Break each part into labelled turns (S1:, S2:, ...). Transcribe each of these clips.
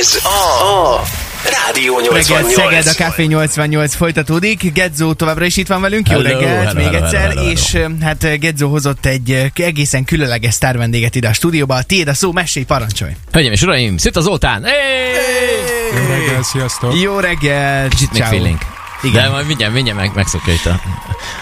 S1: Ez a Rádió
S2: Reggel
S1: 88.
S2: Szeged, a Café 88 folytatódik. Gedzó továbbra is itt van velünk. Jó
S3: Hello,
S2: reggelt
S3: hello,
S2: még
S3: hello,
S2: egyszer.
S3: hello, hello.
S2: És ö, hát ö, Gedzó hozott egy ö, egészen különleges sztárvendéget ide a stúdióba. A tiéd a szó, mesélj, parancsolj.
S3: Hölgyeim és uraim, Szita Zoltán! Hey!
S4: Jó reggel, sziasztok!
S2: Jó reggelt.
S3: Kicsit még
S2: Ciao.
S3: félénk.
S2: Igen.
S3: Igen. De majd mindjárt, mindjárt meg, megszokja itt a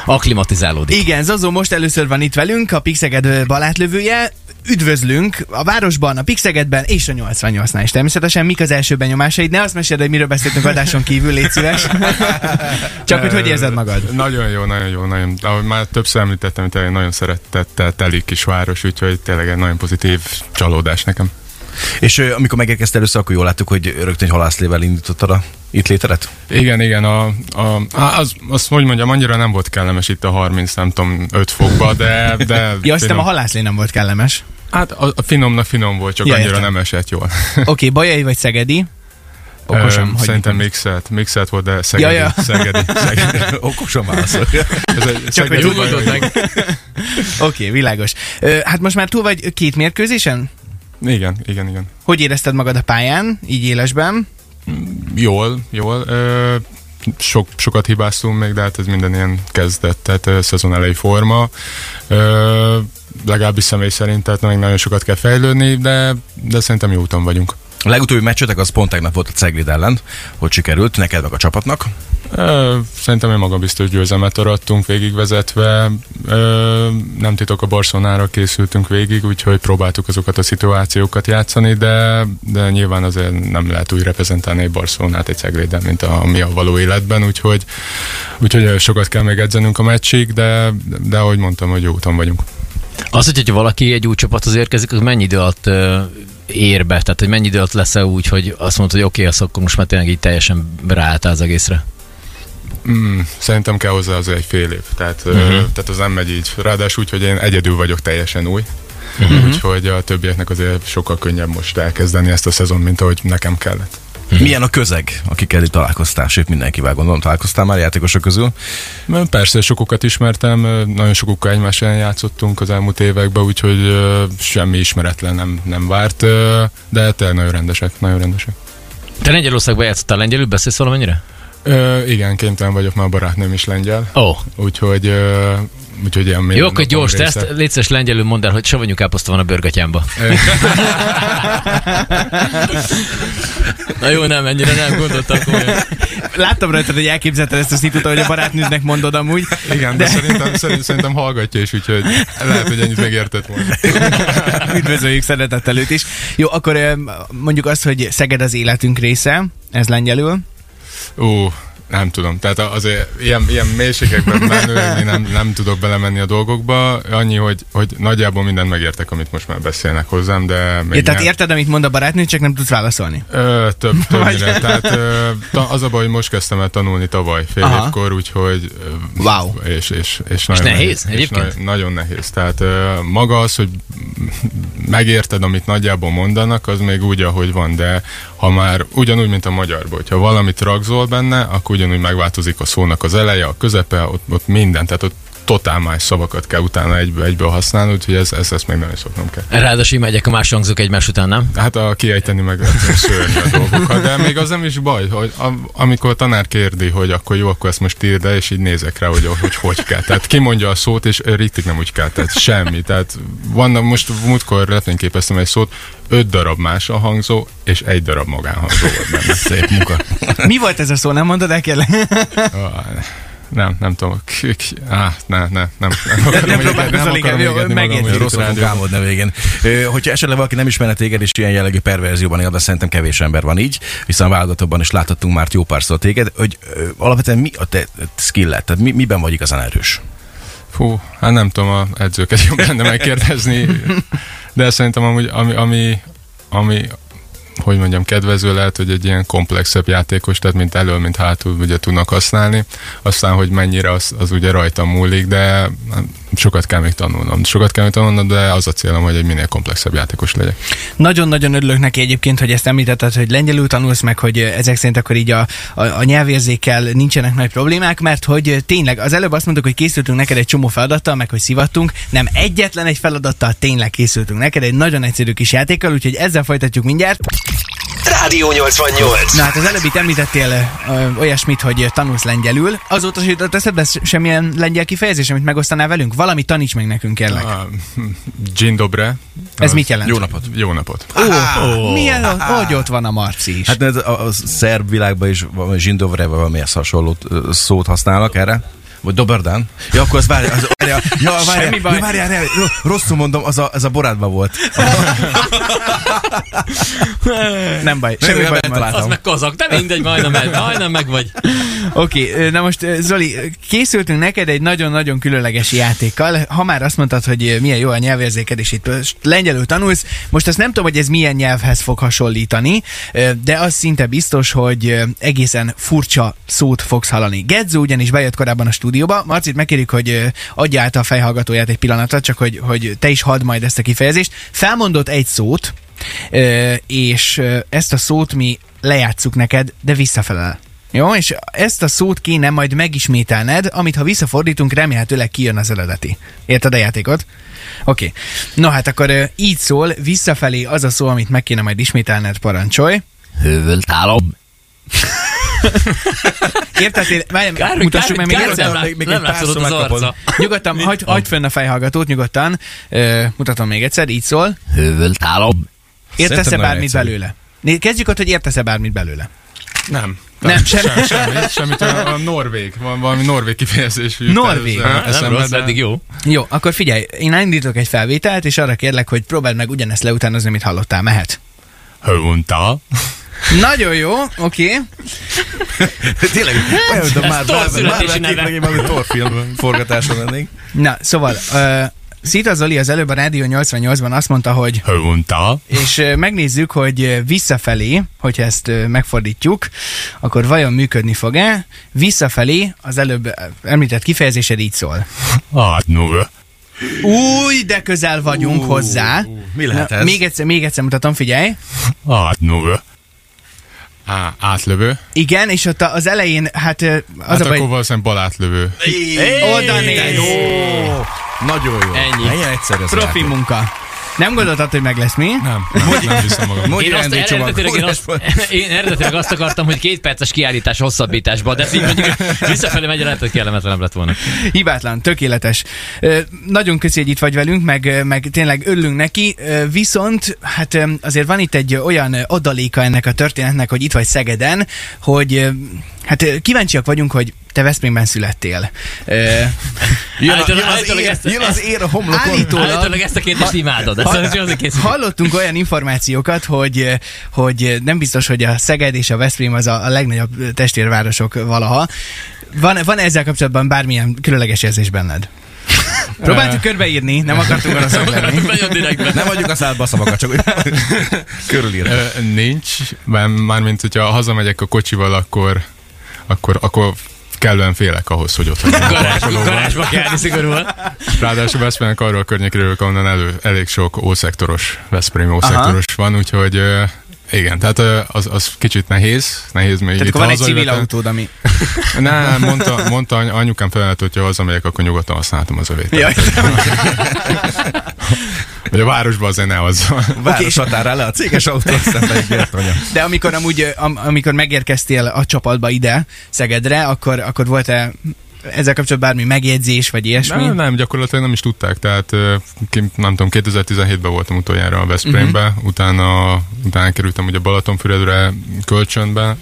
S3: aklimatizálódik.
S2: Igen, Zozó most először van itt velünk, a Pixeged ö, balátlövője. Üdvözlünk a városban, a Pixegedben és a 88-nál is. Természetesen mik az első benyomásaid? Ne azt meséld, hogy miről beszéltünk adáson kívül, légy szíves. Csak hogy hogy érzed magad?
S4: Nagyon jó, nagyon jó, nagyon, ahogy már többször említettem, tényleg nagyon szeretettel teli kisváros, úgyhogy tényleg egy nagyon pozitív csalódás nekem.
S5: És ö, amikor megérkeztél először, akkor jól láttuk, hogy rögtön egy halászlével indítottad a itt léteret?
S4: Igen, igen, a, a, á, az, azt hogy mondjam, annyira nem volt kellemes itt a 30, nem tudom, 5 fokba, de... de
S2: Ja, azt hiszem
S4: finom,
S2: a halászlé nem volt kellemes.
S4: hát a, a finomnak finom volt, csak
S2: Ja,
S4: ja, annyira
S2: értem.
S4: nem esett jól.
S2: Oké, okay, bajai vagy szegedi? Okosan,
S4: Ö,
S2: hogy
S4: Szerintem mixelt, mixelt volt, de szegedi,
S2: Ja,
S4: ja,
S2: ja.
S4: ja. szegedi, szegedi.
S5: Okosan válaszol.
S4: Ez egy, csak
S2: hogy úgy
S3: Nyugodott meg.
S2: Oké, okay, világos. Ö, hát most már túl vagy két mérkőzésen?
S4: Igen, igen, igen.
S2: Hogy érezted magad a pályán, így élesben?
S4: Jól, jól. Ö, sok, sokat hibáztunk még, de hát ez minden ilyen kezdett, tehát ö, szezon elejé forma. Ö, legalábbis személy szerint, tehát még nagyon sokat kell fejlődni, de, de szerintem jó úton vagyunk.
S5: A legutóbbi meccsetek az pont tegnap volt a Cegléd ellen, hogy sikerült neked meg a csapatnak.
S4: Ö, szerintem egy magabiztos győzelmet arattunk végigvezetve. Ö, nem titok a Barcelonára készültünk végig, úgyhogy próbáltuk azokat a szituációkat játszani, de, de nyilván azért nem lehet úgy reprezentálni egy Barcelonát egy Cegléden, mint a, ami a való életben, úgyhogy, úgyhogy ö, sokat kell még edzenünk a meccsig, de, de ahogy mondtam, hogy jó úton vagyunk.
S3: Az, hogy- hogyha valaki egy új csapathoz érkezik, az mennyi idő alatt ö, ér be? Tehát, hogy mennyi idő alatt lesz úgy, hogy azt mondod, hogy oké, okay, azt akkor most már tényleg így teljesen ráálltál az egészre.
S4: Mm, szerintem kell hozzá az egy fél év, tehát, uh-huh. tehát az nem megy így. Ráadásul úgy, hogy én egyedül vagyok teljesen új, uh-huh. úgyhogy a többieknek azért sokkal könnyebb most elkezdeni ezt a szezon, mint ahogy nekem kellett.
S5: Milyen a közeg, akikkel itt találkoztál, sőt mindenkivel gondolom találkoztál már játékosok közül.
S4: Mert Persze, sokokat ismertem, ö, nagyon sokukkal egymás ellen játszottunk az elmúlt években, úgyhogy ö, semmi ismeretlen nem, nem várt, ö, de tényleg nagyon rendesek, nagyon rendesek.
S3: Te Lengyelországban játszottál, lengyelül beszélsz valamennyire?
S4: Ö, igen, kénytelen vagyok, már a barátnőm is lengyel,
S3: Ó, oh,
S4: úgyhogy, ö, úgyhogy ilyen
S3: jó,
S4: minden
S3: akkor
S4: napom
S3: gyors
S4: része.
S3: teszt. Légy szíves, lengyelül mondd el, hogy savanyú káposzta van a bőrgatyámban.
S4: Ö,
S3: Na jó, nem, ennyire nem gondoltam komolyan.
S2: Láttam rajtad, hogy elképzelted ezt a szitut, hogy a barátnőznek mondod amúgy.
S4: Igen, de, de szerintem, szerint, szerintem hallgatja is, úgyhogy lehet, hogy ennyit megértett volna.
S2: Üdvözöljük szeretettel őt is. Jó, akkor ö, mondjuk azt, hogy Szeged az életünk része, ez lengyelül.
S4: Ú, nem tudom. Tehát azért ilyen, ilyen mélységekben menőlegni nem, nem tudok belemenni a dolgokba. Annyi, hogy, hogy nagyjából mindent megértek, amit most már beszélnek hozzám, de még
S2: Ja, tehát
S4: nem.
S2: érted, amit mond a barátnő, csak nem tudsz válaszolni.
S4: Ö, több, többnyire. Tehát ö, ta- az a baj, hogy most kezdtem el tanulni tavaly fél
S2: Aha.
S4: Aha. évkor, úgyhogy... ö,
S2: Wow.
S4: És, és, és, nagyon
S3: nehéz
S4: és
S3: egyébként?
S4: na- nagyon nehéz. Tehát ö, maga az, hogy megérted, amit nagyjából mondanak, az még úgy, ahogy van, de ha már ugyanúgy, mint a magyarban, hogyha valamit ragzol benne, akkor ugyanúgy megváltozik a szónak az eleje, a közepe, ott, ott minden, tehát ott totál más szavakat kell utána egybe, egyből használni, úgyhogy ez, ezt, ezt még nagyon szoknom kell.
S3: Ráadásul megyek a más hangzók egymás után, nem?
S4: Hát a kiejteni meg lehet szörnyű a dolgokat, de még az nem is baj, hogy a, amikor a tanár kérdi, hogy akkor jó, akkor ezt most írd el, és így nézek rá, hogy hogy, hogy kell. Tehát kimondja a szót, és riktig nem úgy kell, tehát semmi. Tehát vannak most múltkor lefényképeztem egy szót, öt darab más a hangzó, és egy darab magánhangzó volt benne. Szép munka.
S2: Mi volt ez a szó, nem mondod el kérlek?
S4: Nem, nem tudom. K- k- Á, ne, ne, nem. Nem, akarom
S2: próbálkozol,
S4: ijedni-
S2: igen, jó,
S4: ijedni magam,
S2: megértjük.
S4: hogy
S5: Rossz
S4: rossz rádió.
S5: munkámod ne végén. Ö, Hogyha esetleg valaki nem ismerne téged, és ilyen jellegű perverzióban él, de szerintem kevés ember van így, hiszen a válogatotban is láthattunk már jó párszor téged, hogy ö, alapvetően mi a te skillet, tehát mi, miben vagy igazán erős?
S4: Fú, hát nem tudom, a edzőket jobb lenne megkérdezni, de szerintem amúgy, ami, ami, ami, hogy mondjam, kedvező lehet, hogy egy ilyen komplexebb játékos, tehát mint elől, mint hátul ugye tudnak használni. Aztán, hogy mennyire az, az ugye rajtam múlik, de hát, sokat kell még tanulnom. Sokat kell még tanulnom, de az a célom, hogy egy minél komplexebb játékos legyek.
S2: Nagyon-nagyon örülök neki egyébként, hogy ezt említetted, hogy lengyelül tanulsz meg, hogy ö, ezek szerint akkor így a, a, a nyelvérzékkel nincsenek nagy problémák, mert hogy ö, tényleg az előbb azt mondtuk, hogy készültünk neked egy csomó feladattal, meg hogy szivattunk, nem egyetlen egy feladattal tényleg készültünk neked, egy nagyon egyszerű kis játékkal, úgyhogy ezzel folytatjuk mindjárt.
S1: Rádió 88.
S2: Na hát az előbb itt említettél ö, olyasmit, hogy tanulsz lengyelül. Azóta se jutott eszedbe semmilyen lengyel kifejezés, amit megosztanál velünk? Valami taníts meg nekünk, kérlek.
S4: Ah, Dzień dobre.
S2: Ez mit jelent?
S4: Jó napot. Jó napot.
S2: Ó, oh, milyen, hogy ott van a Marci is. Hát,
S5: Hát ez a, a szerb világban is valami zsindovre, vagy valami ezt hasonló ö, szót használnak erre. Vagy Doberdán. Ja, akkor az várja, az, várja, ja, várja,
S2: Semmi
S5: ja,
S2: baj.
S5: várja, ne, ro- rosszul mondom, az a, az a borádban volt.
S2: nem baj, semmi
S5: nem
S2: baj.
S5: eltaláltam.
S2: Marci.
S3: Az meg kazak, de mindegy, majdnem, el, majdnem meg vagy.
S2: Oké, okay, na most ö, Zoli, ö, készültünk neked egy nagyon-nagyon különleges játékkal. Ha már azt mondtad, hogy ö, milyen jó a nyelvérzéked, és itt ö, s- lengyelül tanulsz, most azt nem tudom, hogy ez milyen nyelvhez fog hasonlítani, ö, de az szinte biztos, hogy ö, egészen furcsa szót fogsz hallani. Gedzó ugyanis bejött korábban a stúdióba. Marcit megkérjük, hogy ö, adja át a fejhallgatóját egy pillanatra, csak hogy, hogy te is hadd majd ezt a kifejezést. Felmondott egy szót, ö, és ö, ezt a szót mi lejátszuk neked, de visszafelel. Jó, és ezt a szót kéne majd megismételned, amit ha visszafordítunk, remélhetőleg kijön az eredeti. Érted a játékot? Oké. Okay. No hát akkor ö, így szól, visszafelé az a szó, amit meg kéne majd ismételned, parancsolj.
S3: Hövöltálom.
S2: Értettél? Várj,
S3: Kár,
S2: mutassuk meg még
S3: kár,
S2: egyszer.
S3: nem, lát,
S5: Még- még
S3: nem
S5: egy pár
S3: látszódott
S5: szó
S3: az
S5: megkapod.
S3: arca.
S2: Nyugodtan, hagyd hagy fönn a fejhallgatót, nyugodtan. Ö, mutatom még egyszer, így szól.
S3: Hövöltálom.
S2: Értesz-e
S5: Szerintem nagyon
S2: bármit
S5: egyszerű.
S2: belőle? Né- Kezdjük ott, hogy értesz-e bármit belőle.
S4: Nem.
S2: Nem, semmi.
S4: Sem, semmit, semmit, a, a norvég, van valami norvég kifejezés. jut
S2: Norvég.
S4: ez, eh,
S3: Nem
S4: eszembe,
S3: rossz,
S4: de-
S3: eddig jó.
S2: Jó, akkor figyelj, én indítok egy felvételt, és arra kérlek, hogy próbáld meg ugyanezt leutánozni, amit hallottál, mehet.
S4: Hőunta.
S2: Nagyon jó, oké. Okay.
S5: Tényleg, bejött, de már, már, már,
S3: torszületési
S5: már két
S3: neve.
S5: megint valami torfilm forgatáson lennénk.
S2: Na, szóval, uh, Szita Zoli az előbb a Rádió 88-ban azt mondta, hogy
S4: Hőunta.
S2: és ö, megnézzük, hogy ö, visszafelé, hogyha ezt ö, megfordítjuk, akkor vajon működni fog-e? Visszafelé az előbb ö, említett kifejezésed így szól.
S4: Hát nuve.
S2: Új, de közel vagyunk hozzá.
S5: Mi lehet
S2: Na,
S5: ez?
S2: még, egyszer, még egyszer mutatom, figyelj.
S4: Hát nuve. Á, átlövő.
S2: Igen, és ott a- az elején, hát ö, az
S4: Hát
S2: a baj,
S4: akkor valószínűleg balátlövő.
S2: Oda néz!
S5: Nagyon jó.
S3: Ennyi.
S5: Ennyi egyszerű ez a
S2: Profi
S5: játék.
S2: munka. Nem gondoltad, hogy meg lesz mi?
S4: Nem, nem, nem hiszem magam.
S5: Mondj
S3: Én, azt
S5: rendőrcsomag.
S3: eredetileg, én, azt, én eredetileg azt akartam, hogy két perces kiállítás hosszabbításba, de így mondjuk visszafelé megy, lehet, hogy kellemetlenebb lett volna.
S2: Hibátlan, tökéletes. Ö, nagyon köszi, hogy itt vagy velünk, meg, ö, meg tényleg örülünk neki. Ö, viszont, hát ö, azért van itt egy ö, olyan ö, adaléka ennek a történetnek, hogy itt vagy Szegeden, hogy ö, hát ö, kíváncsiak vagyunk, hogy te Veszprémben születtél. Ö,
S5: Jön, a,
S3: Állítólag-
S5: jön, az,
S3: állítólag
S5: ér,
S3: ezt-
S5: jön az ér a homlokon.
S2: állítólag,
S3: Állítólag ezt a kérdést imádod, ezt azért azért készítem.
S2: Hallottunk olyan információkat, hogy, hogy nem biztos, hogy a Szeged és a Veszprém az a, a legnagyobb testvérvárosok valaha. Van, van ezzel kapcsolatban bármilyen különleges érzés benned? Próbáltuk körbeírni, nem akartunk rosszak lenni.
S3: Nagyon direktben.
S5: Nem adjuk a szádba a szavakat, csak hogy körülír.
S4: Ö, Nincs, mert mármint, hogyha hazamegyek a kocsival, akkor, akkor, akkor kellően félek ahhoz, hogy ott vagyok.
S3: Garázs, garázsba kell állni szigorúan.
S4: Ráadásul Veszprémnek arról a környékről, jövök, ahonnan elő, elég sok ószektoros, Veszprém ószektoros van, úgyhogy ö, igen, tehát ö, az, az kicsit nehéz, nehéz még
S2: Tehát
S4: itt
S2: akkor van egy civil
S4: hazajövetem.
S2: autód, ami...
S4: Nem, mondta, mondta any- anyukám felállt, hogyha hazamegyek, akkor nyugodtan használhatom az övét.
S2: Jaj,
S4: Vagy a városban azért ne azzal.
S5: Város határá le a céges autó, aztán pedig jött anya.
S2: de amikor, amúgy, ö, am, amikor megérkeztél a csapatba ide, Szegedre, akkor, akkor volt-e ezzel kapcsolatban bármi megjegyzés, vagy ilyesmi?
S4: Nem, nem, gyakorlatilag nem is tudták, tehát ö, ki- nem tudom, 2017-ben voltam utoljára a Veszprémbe, uh-huh. utána, utána kerültem ugye Balatonfüredre kölcsönbe,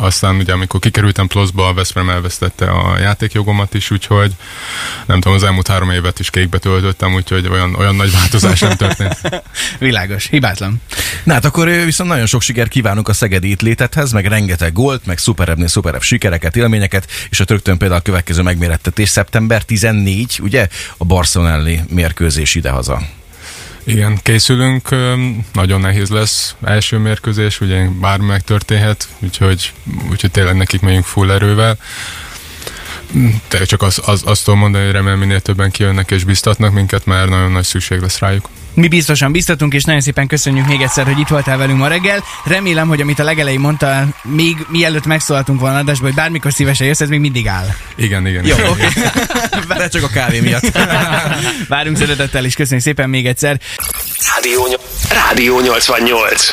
S4: aztán ugye amikor kikerültem pluszba, a Veszprém elvesztette a játékjogomat is, úgyhogy nem tudom, az elmúlt három évet is kékbe töltöttem, úgyhogy olyan, olyan nagy változás nem történt.
S2: Világos, hibátlan.
S5: Na hát akkor ö, viszont nagyon sok sikert kívánunk a szegedi létethez, meg rengeteg gólt, meg szuperebbnél szuperebb sikereket, élményeket, és a rögtön például a következő megmérettetés szeptember 14, ugye, a Barcelonelli mérkőzés idehaza.
S4: Igen, készülünk, öm, nagyon nehéz lesz első mérkőzés, ugye bármi megtörténhet, úgyhogy, úgyhogy tényleg nekik megyünk full erővel. Te csak az, az, azt tudom mondani, hogy remélem minél többen kijönnek és biztatnak minket, mert nagyon nagy szükség lesz rájuk.
S2: Mi biztosan biztatunk, és nagyon szépen köszönjük még egyszer, hogy itt voltál velünk ma reggel. Remélem, hogy amit a legelején mondtál, még mielőtt megszólaltunk volna adásba, hogy bármikor szívesen jössz, ez még mindig áll.
S4: Igen, igen.
S5: Jó,
S4: igen.
S5: oké. De csak a kávé miatt.
S2: Várunk szeretettel, és köszönjük szépen még egyszer.
S1: Rádió, ny- Rádió 88.